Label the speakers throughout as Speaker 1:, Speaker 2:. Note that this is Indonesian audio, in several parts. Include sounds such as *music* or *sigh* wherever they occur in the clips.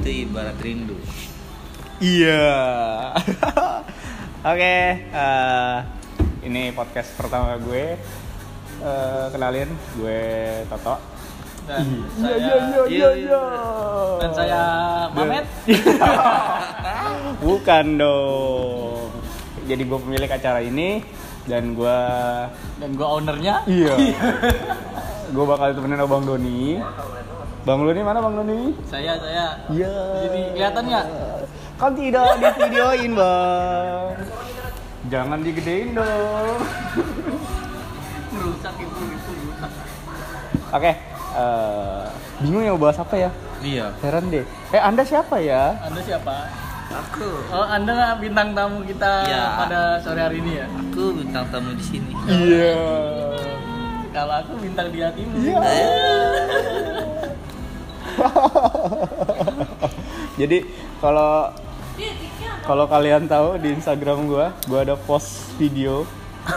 Speaker 1: itu ibarat rindu.
Speaker 2: Iya. *laughs* Oke, eh, ini podcast pertama gue. Eh, kenalin, gue Toto.
Speaker 3: Dan
Speaker 2: Iya,
Speaker 3: saya
Speaker 2: iya, iya, iya,
Speaker 1: iya,
Speaker 2: iya.
Speaker 3: dan saya Mamet.
Speaker 2: *laughs* Bukan dong. Jadi gue pemilik acara ini dan gue
Speaker 3: dan gua ownernya.
Speaker 2: *laughs* iya. gue bakal temenin Abang Doni. Bang Doni mana Bang
Speaker 1: Ya,
Speaker 2: Doni?
Speaker 3: Saya saya.
Speaker 2: Iya.
Speaker 3: Jadi kelihatan nggak?
Speaker 2: Kan tidak di videoin, Bang. Jangan digedein dong.
Speaker 3: Merusak itu itu merusak.
Speaker 2: Oke, eh, bingung ya mau bahas apa ya?
Speaker 1: Iya.
Speaker 2: Heran deh. Eh, Anda siapa ya?
Speaker 3: Anda siapa?
Speaker 1: Aku,
Speaker 3: Oh, Anda nggak bintang tamu kita
Speaker 1: Iya.
Speaker 3: pada sore hari ini ya?
Speaker 1: aku bintang tamu di sini.
Speaker 2: Iya.
Speaker 3: Kalau aku bintang di hatimu.
Speaker 2: Iya. *laughs* Jadi kalau kalau kalian tahu di Instagram gua, gua ada post video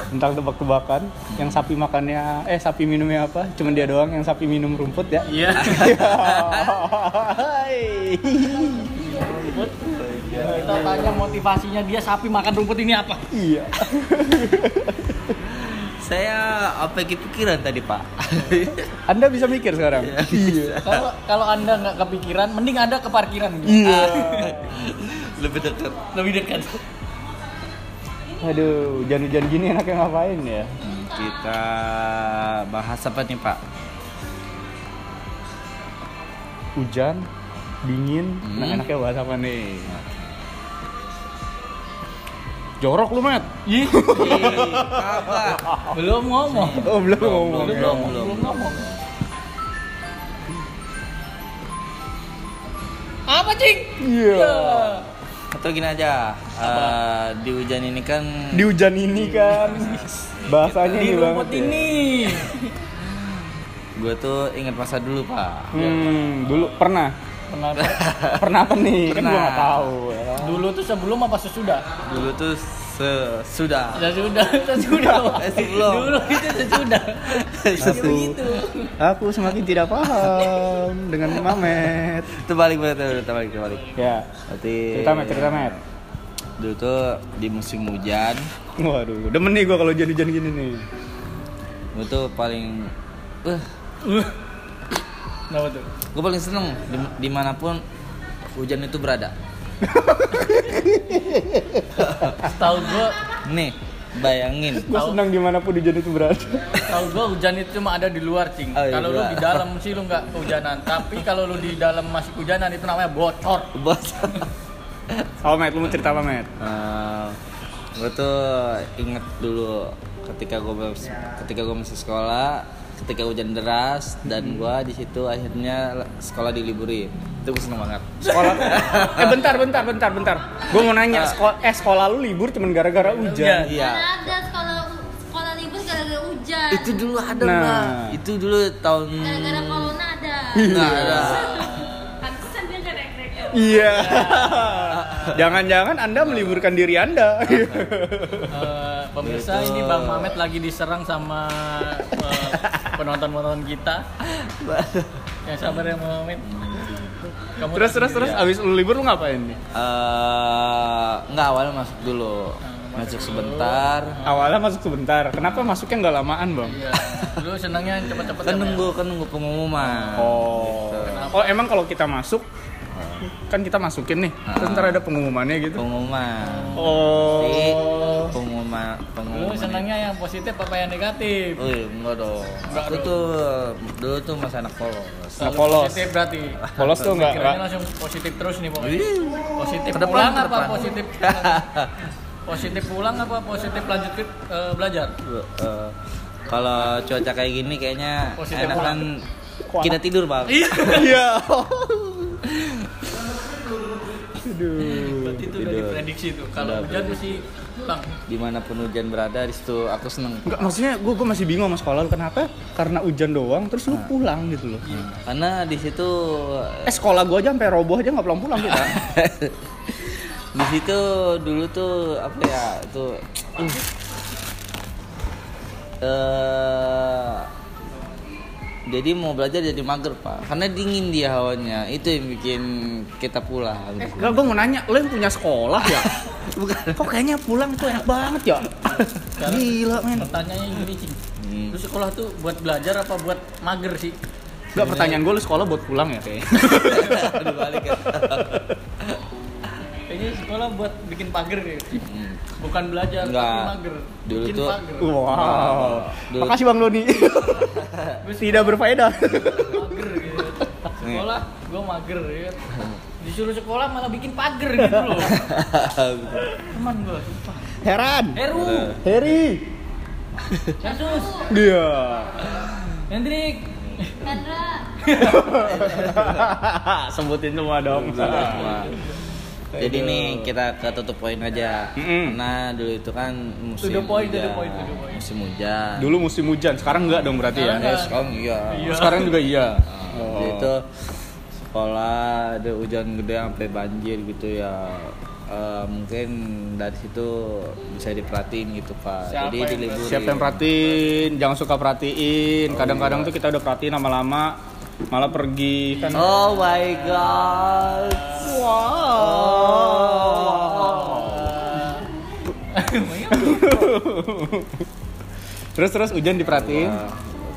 Speaker 2: tentang tebak-tebakan yang sapi makannya eh sapi minumnya apa? Cuman dia doang yang sapi minum rumput ya. *laughs*
Speaker 3: Iya.
Speaker 2: Hai.
Speaker 3: Kita tanya motivasinya dia sapi makan rumput ini apa?
Speaker 2: iya.
Speaker 1: Saya apa yang kepikiran tadi Pak? *laughs*
Speaker 2: Anda bisa mikir sekarang. Iya.
Speaker 3: Kalau kalau Anda nggak kepikiran, mending Anda ke parkiran. Ah,
Speaker 2: Iya.
Speaker 1: Lebih dekat.
Speaker 3: Lebih dekat.
Speaker 2: Aduh, hujan-hujan gini enaknya ngapain ya?
Speaker 1: Hmm, Kita bahas apa nih Pak?
Speaker 2: Hujan, dingin,
Speaker 1: Hmm.
Speaker 2: enak-enaknya bahas apa nih? Jorok lu, Matt.
Speaker 3: Ih,
Speaker 1: Ih, Apa?
Speaker 3: belum ngomong.
Speaker 2: Oh, belum ngomong.
Speaker 1: Belum,
Speaker 2: ya.
Speaker 1: belum, belum.
Speaker 3: Belum ngomong. Apa, Cing?
Speaker 2: Iya.
Speaker 1: Atau gini aja, eh, di hujan ini kan
Speaker 2: Di hujan ini kan bahasanya
Speaker 3: Di
Speaker 2: ini banget.
Speaker 3: rumput
Speaker 2: ya.
Speaker 3: ini.
Speaker 1: gue tuh ingat masa dulu Pak.
Speaker 2: Hmm, dulu pernah. *laughs*
Speaker 3: Kenapa?
Speaker 2: Pernah apa nih? Kan gua
Speaker 1: Pernah.
Speaker 2: enggak tahu. ya.
Speaker 3: Dulu tuh sebelum apa sesudah?
Speaker 1: Dulu tuh se- sudah.
Speaker 3: Sesudah, sesudah.
Speaker 1: Eh, sebelum.
Speaker 3: Dulu itu sesudah.
Speaker 1: Iya, *laughs*
Speaker 2: Aku, aku semakin tidak paham dengan Mamet.
Speaker 1: terbalik balik terbalik terbalik
Speaker 2: Ya.
Speaker 1: berarti
Speaker 2: Cerita, Matt, cerita, Matt.
Speaker 1: dulu tuh di musim hujan
Speaker 2: Waduh, demen nih gua kalau hujan-hujan gini nih.
Speaker 1: gue tuh paling eh
Speaker 3: Kenapa tuh?
Speaker 1: gue paling seneng di- dimanapun hujan itu berada
Speaker 3: Setahu gua,
Speaker 1: nih bayangin
Speaker 2: Gue
Speaker 3: Tahu.
Speaker 2: senang dimanapun hujan itu berada.
Speaker 3: setahu gua hujan itu cuma ada di luar, Cing.
Speaker 1: Oh, iya,
Speaker 3: kalau lu
Speaker 1: luar.
Speaker 3: di dalam sih lu nggak kehujanan, tapi kalau lu di dalam masih kehujanan itu namanya bocor.
Speaker 1: bos *laughs*
Speaker 2: Oh, Matt, lu mau cerita apa, Matt?
Speaker 1: gue Eh, tuh inget dulu ketika gue ketika gue masih sekolah ketika hujan deras
Speaker 2: Hmm.
Speaker 1: dan gue di situ akhirnya sekolah diliburin itu gue seneng banget
Speaker 2: Sekolah. eh, bentar, bentar, bentar, bentar. Gue mau nanya,
Speaker 1: Ah.
Speaker 2: sekolah, eh sekolah lu libur cuman gara-gara hujan.
Speaker 3: Hujan.
Speaker 1: iya
Speaker 4: Mana ada sekolah sekolah libur gara-gara hujan.
Speaker 1: itu dulu ada
Speaker 2: Nah.
Speaker 1: Mbak. itu dulu tahun
Speaker 4: Gara-gara corona ada.
Speaker 1: Nah, ada.
Speaker 4: Pantesan dia nggak naik-naik.
Speaker 2: Iya. Jangan-jangan Anda meliburkan diri Anda.
Speaker 3: Eh, pemirsa
Speaker 1: Betul.
Speaker 3: ini Bang Mamet lagi diserang sama eh, penonton-penonton kita. Yang sabar ya Bang Mamet. Kamu
Speaker 2: terus terus terus abis lu libur lu ngapain nih?
Speaker 1: eh nggak awalnya masuk dulu masuk sebentar
Speaker 2: Awalnya masuk sebentar. Kenapa masuknya nggak lamaan, Bang?
Speaker 3: Iya. Lu senangnya yang cepet-cepet.
Speaker 1: kan
Speaker 3: ya, Bang?
Speaker 1: nunggu kan nunggu pengumuman
Speaker 2: Oh. Oh, emang kalau kita masuk kan kita masukin nih. Terus ntar ada pengumumannya gitu.
Speaker 1: pengumuman Jadi,
Speaker 2: Oh.
Speaker 1: pengumuman pengumuman
Speaker 3: Lu senangnya yang positif apa yang negatif?
Speaker 1: Wih, enggak dong.
Speaker 3: Enggak
Speaker 1: Aku
Speaker 3: dong.
Speaker 1: tuh dulu tuh masih anak polos.
Speaker 3: *laughs*
Speaker 2: Nah,
Speaker 3: Selalu
Speaker 2: polos.
Speaker 3: Positif berarti.
Speaker 2: Polos tuh nggak
Speaker 3: Kiranya langsung positif terus nih pokoknya. Positif
Speaker 1: Ke depan,
Speaker 3: pulang
Speaker 1: ke
Speaker 3: apa
Speaker 1: depan.
Speaker 3: positif?
Speaker 1: *laughs*
Speaker 3: positif pulang apa positif lanjut ke, eh, belajar?
Speaker 1: Eh, Kalau cuaca kayak gini kayaknya
Speaker 3: Positif
Speaker 1: enakan
Speaker 2: Kuat.
Speaker 1: kita tidur, Bang.
Speaker 2: Iya. Aduh.
Speaker 3: Berarti itu udah
Speaker 1: Tidur.
Speaker 3: diprediksi tuh. Kalau
Speaker 1: Udah,
Speaker 3: hujan
Speaker 1: betul.
Speaker 3: mesti pulang.
Speaker 1: Dimanapun hujan berada, di situ aku seneng.
Speaker 2: Enggak, maksudnya gue gua masih bingung sama sekolah lu kenapa? Karena hujan doang terus lu pulang gitu loh.
Speaker 1: Iya. Karena di situ
Speaker 2: Eh sekolah gua aja sampai roboh aja nggak pulang-pulang kita.
Speaker 1: *laughs* di situ dulu tuh apa ya itu eh Jadi mau belajar jadi mager pak, karena dingin dia hawanya. Itu yang bikin kita
Speaker 3: *laughs*
Speaker 1: pulang. *laughs*
Speaker 2: Enggak, gue mau nanya, lo yang punya sekolah ya? *laughs* Bukan. Kok kayaknya pulang tuh enak banget ya?
Speaker 3: Sekarang-
Speaker 2: Gila, men.
Speaker 3: Pertanyaannya gini sih.
Speaker 1: Hmm.
Speaker 3: Lu sekolah tuh buat belajar apa buat mager sih?
Speaker 2: Enggak, pertanyaan gue lo sekolah buat pulang ya kayaknya?
Speaker 1: Aduh, balik ya. *laughs*
Speaker 3: Kayaknya sekolah buat bikin pager ya. Bukan belajar,
Speaker 1: Hmm. Enggak.
Speaker 3: tapi mager.
Speaker 1: Dulu
Speaker 3: bikin
Speaker 1: tuh- Uh.
Speaker 3: pager.
Speaker 2: *laughs* Wow.
Speaker 1: Dulu-
Speaker 2: Makasih Bang *laughs* Doni. Tidak berfaedah.
Speaker 3: mager gitu. Sekolah gua mager
Speaker 1: *laughs*
Speaker 3: ya. Disuruh sekolah malah bikin pager gitu loh. Teman gua, sumpah.
Speaker 2: *laughs*
Speaker 3: Eh,
Speaker 2: Heran.
Speaker 3: Heru,
Speaker 2: Heri. Iya.
Speaker 3: Kasus,
Speaker 2: Dia.
Speaker 3: Hendrik,
Speaker 4: Hendra
Speaker 2: Sebutin semua dong.
Speaker 3: Nah.
Speaker 1: Wah. Jadi nih kita ke tutup poin aja.
Speaker 2: Mm-mm.
Speaker 1: Karena dulu itu kan musim
Speaker 3: the point, to the
Speaker 1: hujan.
Speaker 3: point, to the point.
Speaker 1: Musim hujan.
Speaker 2: Dulu musim hujan, sekarang enggak dong berarti ya?
Speaker 3: Sekarang
Speaker 1: Eh, sekarang iya.
Speaker 3: Iya.
Speaker 2: Sekarang juga iya.
Speaker 1: Nah,
Speaker 3: Oh.
Speaker 1: Jadi itu sekolah ada hujan gede sampai banjir gitu ya. Eh, mungkin dari situ bisa diperhatiin gitu pak.
Speaker 3: Siapa
Speaker 1: Jadi
Speaker 3: yang-
Speaker 1: diliburin.
Speaker 2: Siapa yang perhatiin, jangan suka perhatiin. Kadang-kadang tuh kita udah perhatiin lama-lama malah pergi kan.
Speaker 1: Oh my god. Oh.
Speaker 2: Oh. *laughs* Terus terus hujan diperhatiin.
Speaker 1: Wah,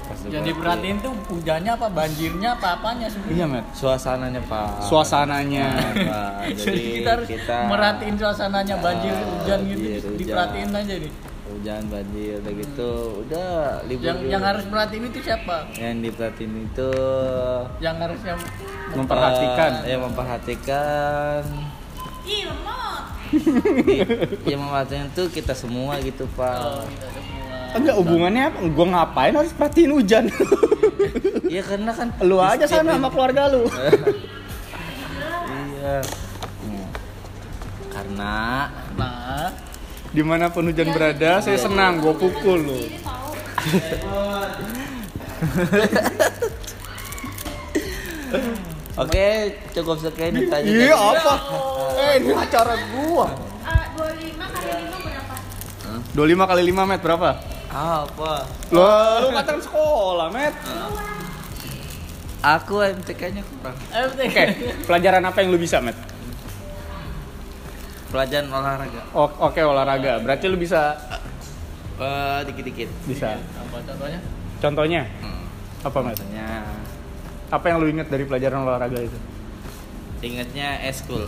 Speaker 1: pas
Speaker 3: *laughs* Jadi
Speaker 1: diperhatiin.
Speaker 3: perhatiin tuh hujannya apa banjirnya apa apanya sebenarnya.
Speaker 2: Iya, Matt.
Speaker 1: Suasananya pak. Iya,
Speaker 2: Suasananya.
Speaker 1: Pak.
Speaker 3: *laughs* Jadi kita harus merhatiin suasananya banjir
Speaker 2: Ah, iya,
Speaker 3: hujan gitu
Speaker 1: Banjir, hujan.
Speaker 3: diperhatiin aja nih.
Speaker 1: hujan banjir udah gitu udah libur
Speaker 3: Yang
Speaker 1: dulu.
Speaker 3: yang harus perhatiin itu siapa?
Speaker 1: yang diperhatiin itu
Speaker 3: Yang harusnya
Speaker 2: Memperhatikan.
Speaker 1: eh, yang memperhatikan
Speaker 4: Ilmot
Speaker 1: yang
Speaker 2: *laughs*
Speaker 1: iya, memperhatikan itu kita semua gitu
Speaker 3: Oh,
Speaker 1: pak
Speaker 3: kita semua.
Speaker 2: Enggak hubungannya apa? Gua ngapain harus perhatiin hujan? *laughs*
Speaker 1: Iya karena kan di
Speaker 2: lu aja
Speaker 1: setiap
Speaker 2: sana sama keluarga lu.
Speaker 1: *laughs* iya Hmm. karena
Speaker 3: Nah,
Speaker 2: Dimanapun hujan berada, saya senang. Gua pukul lu.
Speaker 4: Ini tahu eh,
Speaker 1: oke cukup sekian kita aja
Speaker 2: Iya apa? Eh *laughs* ini acara gua.
Speaker 4: Ah, 25 kali 5 berapa?
Speaker 2: 25 kali 5 met berapa?
Speaker 1: Ah, apa
Speaker 2: Lo lu katakan sekolah met.
Speaker 1: aku MTK nya kurang
Speaker 3: FTK.
Speaker 2: Oke, pelajaran apa yang lu bisa met?
Speaker 1: pelajaran olahraga
Speaker 2: O- Oke olahraga. Berarti lu bisa
Speaker 1: Eh, dikit-dikit
Speaker 2: bisa.
Speaker 3: Apa contohnya?
Speaker 2: Contohnya
Speaker 1: Hmm.
Speaker 2: apa met?
Speaker 1: Tanya
Speaker 2: Apa yang lu ingat dari pelajaran olahraga itu?
Speaker 1: ingatnya eskul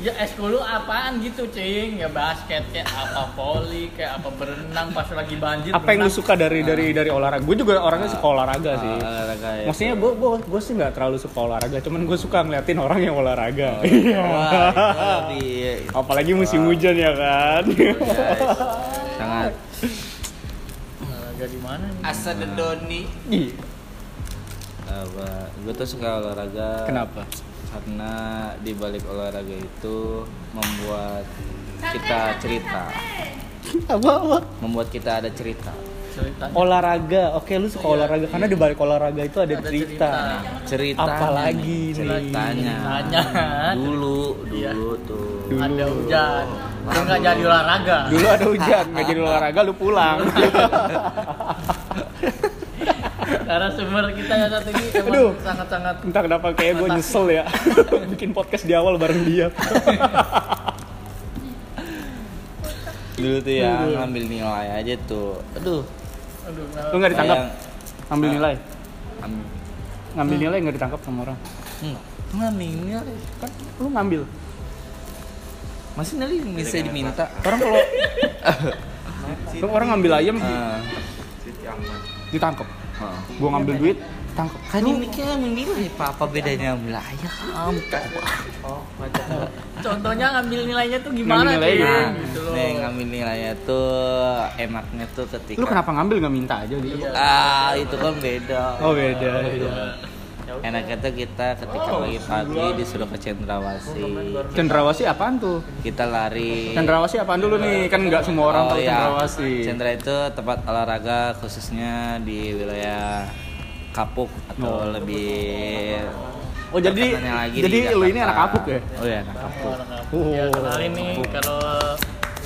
Speaker 3: Ya eskul lu apaan gitu, Cing? Ya basket kayak apa voli kayak apa berenang pas lagi banjir.
Speaker 2: Apa yang lu
Speaker 3: berenang.
Speaker 2: suka dari dari dari olahraga? Gue juga orangnya suka olahraga sih.
Speaker 1: Ah, olahraga ya.
Speaker 2: Maksudnya gue gue gue sih nggak terlalu suka olahraga, cuman gue suka ngeliatin orang yang olahraga.
Speaker 1: Oh, iya.
Speaker 2: Iya.
Speaker 1: Wah,
Speaker 2: *laughs*
Speaker 1: iya. itu lebih
Speaker 2: Apalagi musim hujan ya kan.
Speaker 1: guys.
Speaker 2: *laughs*
Speaker 1: sangat
Speaker 3: Olahraga di mana Nah, nih?
Speaker 1: asa dedoni
Speaker 2: Ih,
Speaker 1: apa gue tuh suka olahraga
Speaker 2: Kenapa?
Speaker 1: karena di balik olahraga itu membuat
Speaker 4: Sate,
Speaker 1: kita
Speaker 4: sate,
Speaker 1: cerita
Speaker 4: sate.
Speaker 2: Apa apa?
Speaker 1: membuat kita ada cerita
Speaker 3: Ceritanya.
Speaker 2: Olahraga. Oke, lu suka
Speaker 3: Iya,
Speaker 2: olahraga karena di balik olahraga itu ada
Speaker 3: Ada
Speaker 2: cerita.
Speaker 1: cerita
Speaker 2: Apalagi nih?
Speaker 1: ceritanya
Speaker 3: Ceritanya.
Speaker 1: dulu
Speaker 3: Iya.
Speaker 1: dulu tuh
Speaker 2: Dulu.
Speaker 3: Ada hujan. Lu nggak jadi olahraga.
Speaker 2: Dulu ada hujan, nggak jadi olahraga lu pulang.
Speaker 3: Karena sumber kita yang satu ini emang
Speaker 2: Aduh.
Speaker 3: sangat-sangat
Speaker 2: Entah kenapa kayak gue nyesel ya *laughs* bikin podcast di awal bareng dia.
Speaker 1: dulu tuh ya ngambil nilai aja tuh aduh
Speaker 3: aduh.
Speaker 2: Lu nggak ditanggap?
Speaker 1: Sayang.
Speaker 2: Ambil
Speaker 1: Ah.
Speaker 2: nilai.
Speaker 1: Am-
Speaker 2: Ngambil nilai nggak ditangkap sama orang.
Speaker 1: Enggak. ngambil nilai
Speaker 2: Kan lu ngambil.
Speaker 1: masih nilai bisa diminta *laughs*
Speaker 2: Orang kalau Lu orang ngambil ayam
Speaker 1: Ah.
Speaker 2: ditangkap.
Speaker 1: Ah.
Speaker 2: Gua ngambil duit, tangkap.
Speaker 1: Kan ini kan menilai pak apa bedanya ambil ayam Pak?
Speaker 3: Contohnya ngambil nilainya tuh
Speaker 2: Ngambil
Speaker 3: gimana,
Speaker 2: nilainya.
Speaker 3: Cing?
Speaker 1: Nah,
Speaker 3: Gitu loh.
Speaker 1: nih ngambil nilainya tuh enaknya tuh ketika
Speaker 2: Lu kenapa ngambil nggak minta aja gitu?
Speaker 3: Iya.
Speaker 1: ah itu kan beda
Speaker 2: Oh beda. beda.
Speaker 1: enaknya tuh kita ketika
Speaker 3: Oh.
Speaker 1: pagi-pagi disuruh ke Cendrawasih
Speaker 2: Cendrawasih apaan tuh?
Speaker 1: kita lari
Speaker 2: Cendrawasih apaan dulu nih? Kan nggak semua
Speaker 1: Iya. Oh,
Speaker 2: orang tahu
Speaker 1: iya.
Speaker 2: cendrawasih.
Speaker 1: Cendra itu tempat olahraga khususnya di wilayah Kapuk atau lebih
Speaker 2: Oh, jadi-
Speaker 1: terkenalnya lagi
Speaker 2: jadi
Speaker 1: di
Speaker 2: lu ini
Speaker 1: Jakarta.
Speaker 2: anak Kapuk ya?
Speaker 1: Oh iya anak Kapuk.
Speaker 3: Ya kenalin nih kalau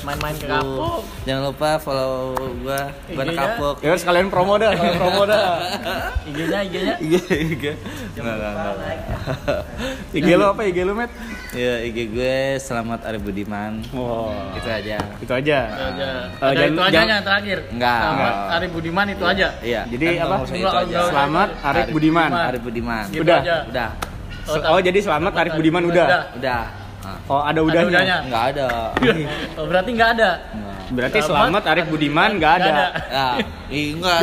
Speaker 3: Main-main ke
Speaker 1: Lu-
Speaker 3: kapuk.
Speaker 1: Jangan lupa follow gua, gua anak
Speaker 3: Iya.
Speaker 1: kapok.
Speaker 2: Ya udah sekalian promo dah, sekalian promo dah.
Speaker 3: kan IG-nya IG-nya
Speaker 1: IG IG. Enggak enggak enggak.
Speaker 2: IG lu apa? IG lu, Matt?
Speaker 1: Ya IG gue Selamat Ari Budiman.
Speaker 2: Wow.
Speaker 1: Itu aja.
Speaker 2: Itu aja.
Speaker 3: aja.
Speaker 2: Eh,
Speaker 3: Ada
Speaker 2: jangan-
Speaker 3: itu aja
Speaker 2: jangan-
Speaker 3: yang terakhir.
Speaker 1: Enggak,
Speaker 3: Sama
Speaker 1: enggak.
Speaker 3: Ari Budiman itu aja.
Speaker 1: Iya.
Speaker 2: Jadi
Speaker 1: kan
Speaker 2: apa?
Speaker 1: nggak usah Itu aja.
Speaker 3: Selamat
Speaker 2: Selamat Arif Budiman.
Speaker 1: Ari Budiman.
Speaker 3: Gitu
Speaker 2: Udah.
Speaker 3: aja.
Speaker 1: Udah.
Speaker 2: Oh, oh, jadi selamat Arif Budiman udah.
Speaker 1: Udah. Ah,
Speaker 2: Oh, ada
Speaker 3: udahnya.
Speaker 2: udahnya.
Speaker 1: Enggak ada.
Speaker 2: Iya.
Speaker 3: Oh, berarti nggak ada.
Speaker 1: Enggak.
Speaker 2: Berarti selamat Arif Budiman nggak ada.
Speaker 3: Nggak
Speaker 1: Ya, ih,
Speaker 2: *laughs*
Speaker 1: enggak.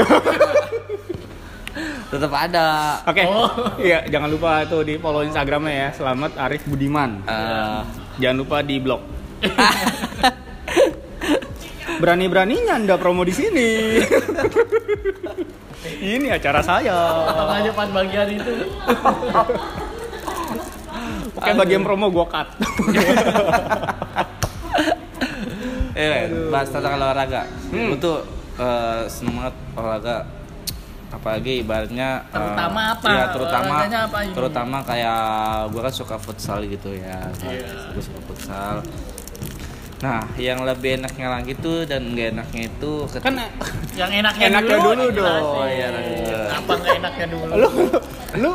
Speaker 1: Tetap ada.
Speaker 2: Oke.
Speaker 3: Oh.
Speaker 2: *laughs* Iya, jangan lupa tuh di follow Instagramnya ya. Selamat Arif Budiman.
Speaker 1: Eh,
Speaker 2: Jangan lupa di *laughs* blog. Berani-beraninya Anda promo di *laughs* sini. Ini acara saya.
Speaker 1: Oh.
Speaker 3: Potong aja pas bagian itu.
Speaker 2: Oke, bagian promo gua cut.
Speaker 1: eh, bahas tentang olahraga.
Speaker 2: Hmm.
Speaker 1: Gua tuh eh, seneng banget olahraga apalagi ibaratnya eh,
Speaker 3: Terutama apa?
Speaker 1: iya, terutama
Speaker 3: Olahraganya apa ini?
Speaker 1: terutama kayak gua kan suka futsal gitu ya
Speaker 3: Iya.
Speaker 1: Gua suka futsal nah yang lebih enaknya lagi tuh dan nggak enaknya itu ketika- *laughs*
Speaker 2: kan
Speaker 3: Yang enaknya,
Speaker 2: Enaknya dulu
Speaker 3: dijelasin.
Speaker 2: dong.
Speaker 1: Oh, iya, enaknya.
Speaker 3: Apa nggak enaknya dulu?
Speaker 2: *laughs* lu lu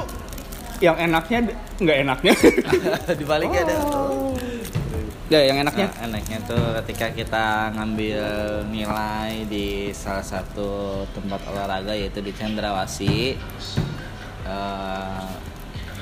Speaker 2: yang enaknya d- nggak enaknya.
Speaker 1: dibaliknya
Speaker 3: Oh.
Speaker 1: ada
Speaker 2: Oh. Ya, yang enaknya.
Speaker 1: Nah, enaknya tuh ketika kita ngambil nilai di salah satu tempat olahraga yaitu di Cendrawasih. Eh,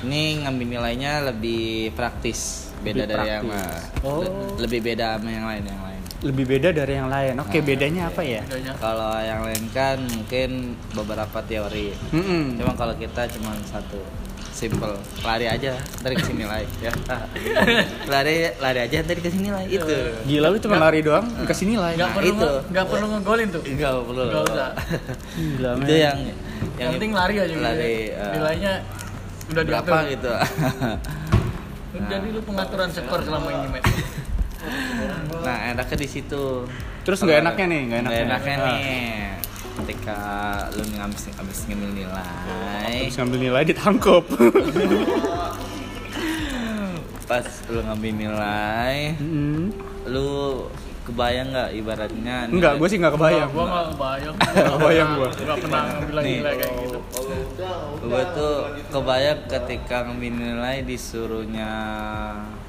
Speaker 1: ini ngambil nilainya lebih praktis, beda
Speaker 2: Lebih
Speaker 1: dari yang
Speaker 2: praktis.
Speaker 1: eh,
Speaker 2: Oh.
Speaker 1: le- lebih beda sama yang lain yang lain.
Speaker 2: Lebih beda dari yang lain. Oke, bedanya apa ya?
Speaker 3: Bedanya.
Speaker 1: Kalau yang lain kan mungkin beberapa teori.
Speaker 2: Mm-mm.
Speaker 1: Cuma kalau kita cuma satu simple lari aja dari kasih nilai
Speaker 2: *laughs*
Speaker 1: ya lari lari aja dari kasih nilai gitu. itu
Speaker 2: Gila lu cuma lari doang dikasih nilai.
Speaker 3: Nggak
Speaker 1: Nah,
Speaker 3: perlu
Speaker 1: itu. Iya.
Speaker 3: nge- nggak perlu ngegolin tuh.
Speaker 1: Enggak perlu.
Speaker 3: Nggak usah.
Speaker 2: Gila,
Speaker 1: itu
Speaker 2: men.
Speaker 1: yang
Speaker 3: Yang penting lari aja. gitu.
Speaker 1: Lari eh,
Speaker 3: Nilainya udah
Speaker 1: berapa
Speaker 3: diatur.
Speaker 1: gitu. *laughs*
Speaker 3: Jadi lu pengaturan skor selama ini, Mas.
Speaker 1: nah, enaknya di situ.
Speaker 2: Terus
Speaker 1: Kalau-
Speaker 2: nggak enaknya nih, nggak
Speaker 1: nggak enaknya
Speaker 2: enaknya. Ah.
Speaker 1: nih. Ketika lu ngabis habis ngambil nilai,
Speaker 2: Terus ngambil nilai ditangkap. *laughs*
Speaker 1: pas lu ngambil nilai,
Speaker 2: Mm.
Speaker 1: lu kebayang nggak ibaratnya?
Speaker 2: Enggak, gue sih nggak kebayang.
Speaker 3: Gua nggak
Speaker 2: *laughs*
Speaker 3: kebayang.
Speaker 2: Nggak kebayang gua.
Speaker 3: Nggak pernah ngambil
Speaker 1: Nih.
Speaker 3: nilai kayak gitu.
Speaker 1: Gue tuh kebayang ketika ngambil nilai disuruhnya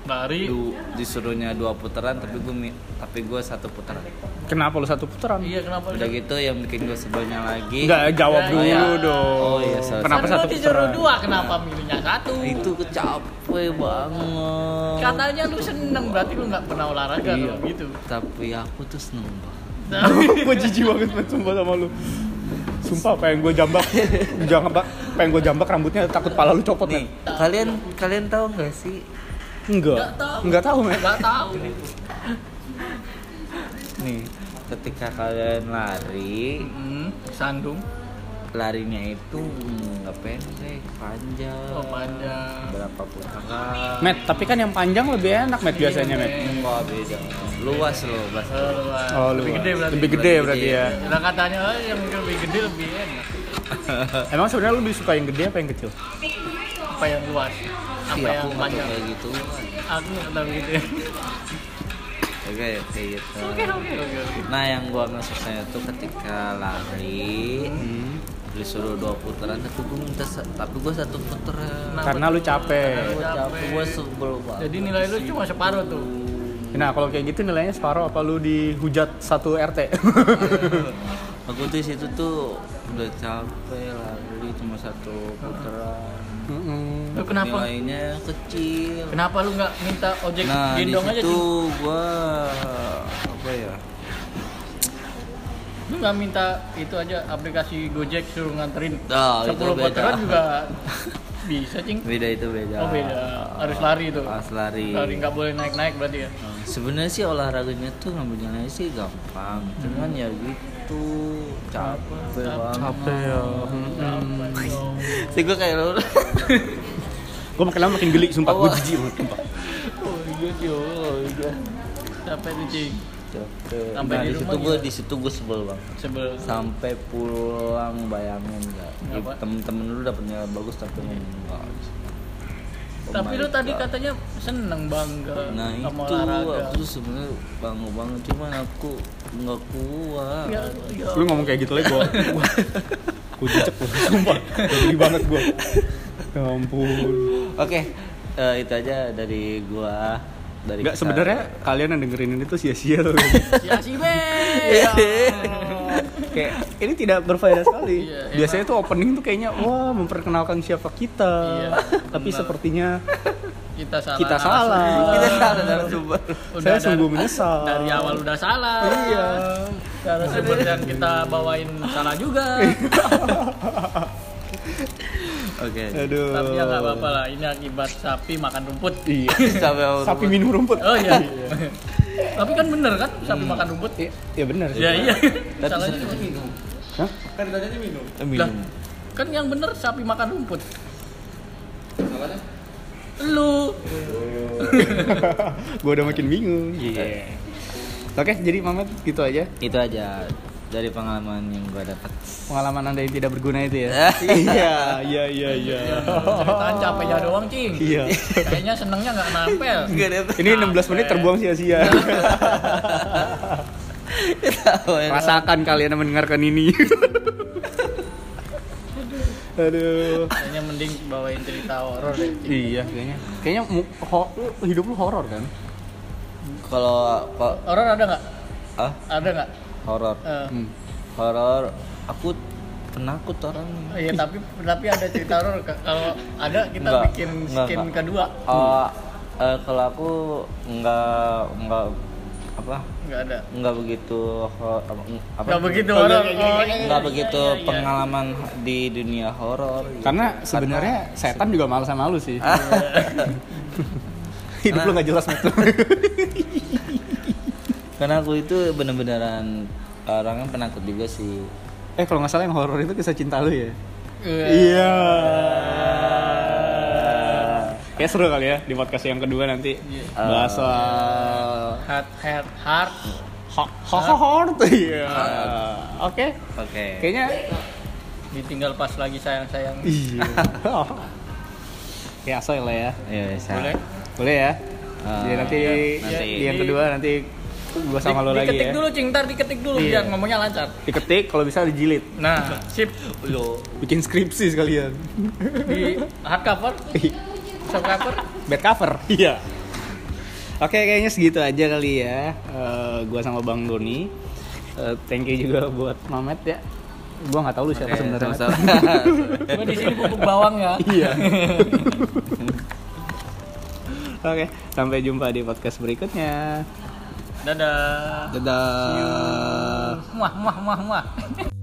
Speaker 3: Lari.
Speaker 1: du, disuruhnya dua putaran tapi gue tapi gue satu putaran
Speaker 2: Kenapa lu satu putaran?
Speaker 3: Iya, kenapa?
Speaker 1: udah gitu yang bikin gue sebelnya lagi
Speaker 2: Enggak, jawab
Speaker 3: Ya,
Speaker 2: dulu
Speaker 3: iya.
Speaker 2: dong.
Speaker 1: Oh, iya, sorry,
Speaker 2: Kenapa
Speaker 3: Kan
Speaker 2: satu
Speaker 3: lu disuruh
Speaker 2: putaran? *laughs*
Speaker 3: dua, kenapa milihnya satu?
Speaker 1: itu kecape banget
Speaker 3: Katanya lu seneng, berarti lu nggak pernah olahraga
Speaker 1: Iya.
Speaker 3: kalau gitu.
Speaker 1: tapi aku tuh seneng banget
Speaker 2: gue jijik banget men, sumpah sama lu. Sumpah pengen gue jambak. Jangan bak, pengen gue jambak rambutnya takut pala lu copot
Speaker 1: nih
Speaker 2: nih.
Speaker 1: kalian kalian tahu nggak sih
Speaker 2: Enggak. Enggak tahu, men.
Speaker 3: *laughs* Nggak tahu.
Speaker 1: nih ketika kalian lari
Speaker 3: Hmm, sandung,
Speaker 1: larinya itu nggak pendek panjang
Speaker 3: oh panjang.
Speaker 1: berapa putaran
Speaker 2: Met, tapi kan yang panjang lebih enak, Met, biasanya, Iya, Met.
Speaker 1: Wah, beda luas loh bahasa
Speaker 3: Oh, luas.
Speaker 2: Oh,
Speaker 3: lebih
Speaker 2: lu.
Speaker 3: gede berarti.
Speaker 2: Lebih gede berarti ya.
Speaker 3: Nah, katanya oh, yang lebih gede lebih enak.
Speaker 2: Emang sebenarnya lu lebih suka yang gede apa yang kecil?
Speaker 3: Apa yang luas? Apa
Speaker 1: Ih, Iya, aku
Speaker 3: yang
Speaker 1: nggak tahu
Speaker 3: panjang?
Speaker 1: kayak gitu
Speaker 3: Aku nggak tahu gitu. *laughs*
Speaker 1: oke kayak gitu
Speaker 3: Oke, oke, oke. oke.
Speaker 1: nah yang gua nggak suka itu ketika lari
Speaker 3: Hmm.
Speaker 1: disuruh dua putaran tapi gue minta sa- tapi gue satu putaran
Speaker 3: Kenapa
Speaker 2: Karena lu
Speaker 1: gue
Speaker 2: capek.
Speaker 1: capek gue sebel banget
Speaker 3: Jadi nilai lu cuma separuh tuh.
Speaker 2: Nah, kalau kayak gitu nilainya separuh apa lu dihujat satu RT?
Speaker 1: aku tuh situ tuh udah capek lari cuma satu putaran
Speaker 2: *laughs* Mm-mm.
Speaker 3: Lu kenapa?
Speaker 1: nilainya kecil
Speaker 3: Kenapa lu nggak minta ojek
Speaker 1: nah di
Speaker 3: gendong aja
Speaker 1: situ
Speaker 3: sih?
Speaker 1: gue apa ya
Speaker 3: Lu nggak minta itu aja aplikasi Gojek suruh nganterin.
Speaker 1: Oh, itu
Speaker 3: 10
Speaker 1: beda. *laughs*
Speaker 3: putaran juga bisa, Cing.
Speaker 1: beda itu beda
Speaker 3: Oh, beda. Harus lari tuh.
Speaker 1: harus lari,
Speaker 3: Lari nggak boleh naik-naik berarti ya.
Speaker 1: Nah, sebenarnya sih olahraganya tuh ngambil nilai sih gampang cuman ya gitu capek banget
Speaker 2: Capek ya.
Speaker 1: sih gue kayak lu
Speaker 2: Gue makin lama makin geli, sumpah. Gue
Speaker 1: Allah.
Speaker 2: jijik banget, sumpah.
Speaker 3: Oh iya, oh iya. Sampai tuh, Cing.
Speaker 1: capek
Speaker 3: Sampai
Speaker 1: nah
Speaker 3: di
Speaker 1: di
Speaker 3: rumah
Speaker 1: situ gue
Speaker 3: gimana?
Speaker 1: di situ gue sebel banget
Speaker 3: Sebel.
Speaker 1: sampai pulang bayangin nggak
Speaker 3: Nggak, Pak.
Speaker 1: temen-temen lu dapet nilai bagus tapi lu nggak
Speaker 3: Tapi lu tadi
Speaker 1: kata
Speaker 3: katanya seneng bangga
Speaker 1: Oh Nah
Speaker 3: sama
Speaker 1: itu
Speaker 3: olahraga.
Speaker 1: aku tuh sebenarnya bangga banget cuman aku nggak kuat.
Speaker 3: Ya, ya.
Speaker 2: Lu ngomong kayak gitu lagi gua. Wah. Gua dicek lu, sumpah. Gua geli banget gua. Ya ampun.
Speaker 1: Oke eh, itu aja dari gua dari.
Speaker 2: Enggak
Speaker 1: kita.
Speaker 2: sebenarnya kalian yang dengerin ini tuh sia-sia loh.
Speaker 3: Ya si Be.
Speaker 1: *laughs*
Speaker 2: kayak ini tidak berfaedah sekali.
Speaker 3: Iya, emang.
Speaker 2: Biasanya tuh opening tuh kayaknya wah memperkenalkan siapa kita.
Speaker 3: Iya,
Speaker 2: Tapi
Speaker 3: benar.
Speaker 2: sepertinya *laughs*
Speaker 3: Kita salah.
Speaker 2: kita salah.
Speaker 1: Kita salah dalam sumber.
Speaker 2: Saya
Speaker 3: dari-
Speaker 2: sungguh menyesal.
Speaker 3: *laughs* Dari awal udah salah.
Speaker 2: Iya.
Speaker 3: Cara sumber yang kita bawain salah
Speaker 2: *laughs*
Speaker 3: juga.
Speaker 2: Iya.
Speaker 1: Oke.
Speaker 2: Aduh.
Speaker 3: Tapi ya nggak apa-apa lah. Ini akibat sapi makan rumput.
Speaker 2: Iya.
Speaker 1: Sampai awal
Speaker 2: Sapi
Speaker 1: rumah.
Speaker 2: minum rumput.
Speaker 3: *laughs* Oh iya. Tapi kan bener kan sapi makan rumput.
Speaker 2: Iya, Iya benar.
Speaker 3: Ya iya.
Speaker 1: Tapi
Speaker 3: Salahnya
Speaker 1: sapi-
Speaker 3: minum.
Speaker 2: Hah? *laughs*
Speaker 1: Eh,
Speaker 3: Lah,
Speaker 1: minum.
Speaker 3: kan yang bener sapi makan rumput. Lu.
Speaker 2: Gua udah makin bingung.
Speaker 1: Iya.
Speaker 2: Oke, jadi Mamet gitu aja.
Speaker 1: Itu aja dari pengalaman yang gua dapat.
Speaker 2: Pengalaman Anda yang tidak berguna itu *laughs* ya. iya, iya, iya, iya.
Speaker 3: Ceritaan capeknya doang, Cing.
Speaker 2: Iya.
Speaker 3: Kayaknya senengnya nggak nampel.
Speaker 1: Gak ada.
Speaker 2: Ini 16 menit terbuang sia-sia. *laughs*
Speaker 1: ya.
Speaker 2: Rasakan kalian yang mendengarkan ini. *laughs* Aduh.
Speaker 3: Kayaknya mending bawain cerita horor deh. Cing.
Speaker 2: Iya, kayaknya. Kayaknya mu- ho- lu- hidup lu horor kan?
Speaker 1: Kalau kok
Speaker 3: Horor ada nggak?
Speaker 1: ah
Speaker 3: Ada nggak?
Speaker 1: horor
Speaker 3: Eh,
Speaker 2: Hmm.
Speaker 1: horor aku penakut orangnya.
Speaker 3: Iya tapi tapi ada cerita horor Kak. kalau ada kita
Speaker 1: Nggak,
Speaker 3: bikin
Speaker 1: nggak,
Speaker 3: skin
Speaker 1: nggak.
Speaker 3: kedua
Speaker 1: Oh, eh, kalau aku nggak nggak apa
Speaker 3: nggak ada
Speaker 1: nggak begitu ho- apa
Speaker 3: nggak begitu horor oh, iya,
Speaker 1: nggak
Speaker 3: iya,
Speaker 1: begitu
Speaker 3: iya, iya.
Speaker 1: pengalaman di dunia *laughs* horor gitu.
Speaker 2: Karena sebenarnya setan juga males sama lu sih. *laughs* hidup lu nggak jelas *laughs* betul.
Speaker 1: karena aku itu bener-beneran orangnya penakut juga sih
Speaker 2: eh kalau nggak salah yang horor itu kisah cinta lu ya?
Speaker 3: Iya.
Speaker 2: Iya. Kayak seru kali ya di podcast yang kedua nanti
Speaker 3: Iya.
Speaker 2: bahas soal
Speaker 3: heart heart heart
Speaker 2: ho- ho- ho- hort. Iya. Oke.
Speaker 1: oke
Speaker 2: Kayaknya
Speaker 3: ditinggal pas lagi sayang sayang
Speaker 2: iya. ya asoy lah ya.
Speaker 1: Iya, bisa.
Speaker 3: boleh
Speaker 2: Boleh ya.
Speaker 1: Ah,
Speaker 2: Jadi nanti,
Speaker 1: nanti.
Speaker 2: di yang kedua iya. nanti gua sama
Speaker 3: Di-
Speaker 2: lo lagi
Speaker 3: diketik
Speaker 2: ya.
Speaker 3: dulu cing ntar diketik dulu
Speaker 2: Iya.
Speaker 3: biar ngomongnya lancar
Speaker 2: Diketik kalau bisa dijilid.
Speaker 3: nah sip
Speaker 1: Lo.
Speaker 2: Bikin skripsi sekalian.
Speaker 3: di hardcover
Speaker 2: Iya.
Speaker 3: softcover
Speaker 2: Bed cover. Iya. Oke, kayaknya segitu aja kali ya. Eh, gua sama Bang Doni. Eh, thank you juga buat Mamet ya. Gua nggak tahu lu siapa
Speaker 1: Oke,
Speaker 2: sebenarnya.
Speaker 1: *laughs* sama-sama.
Speaker 3: gue di sini pupuk bawang ya
Speaker 2: Iya. *laughs* Oke, sampai jumpa di podcast berikutnya.
Speaker 3: dadah
Speaker 1: dadah
Speaker 3: muah muah muah muah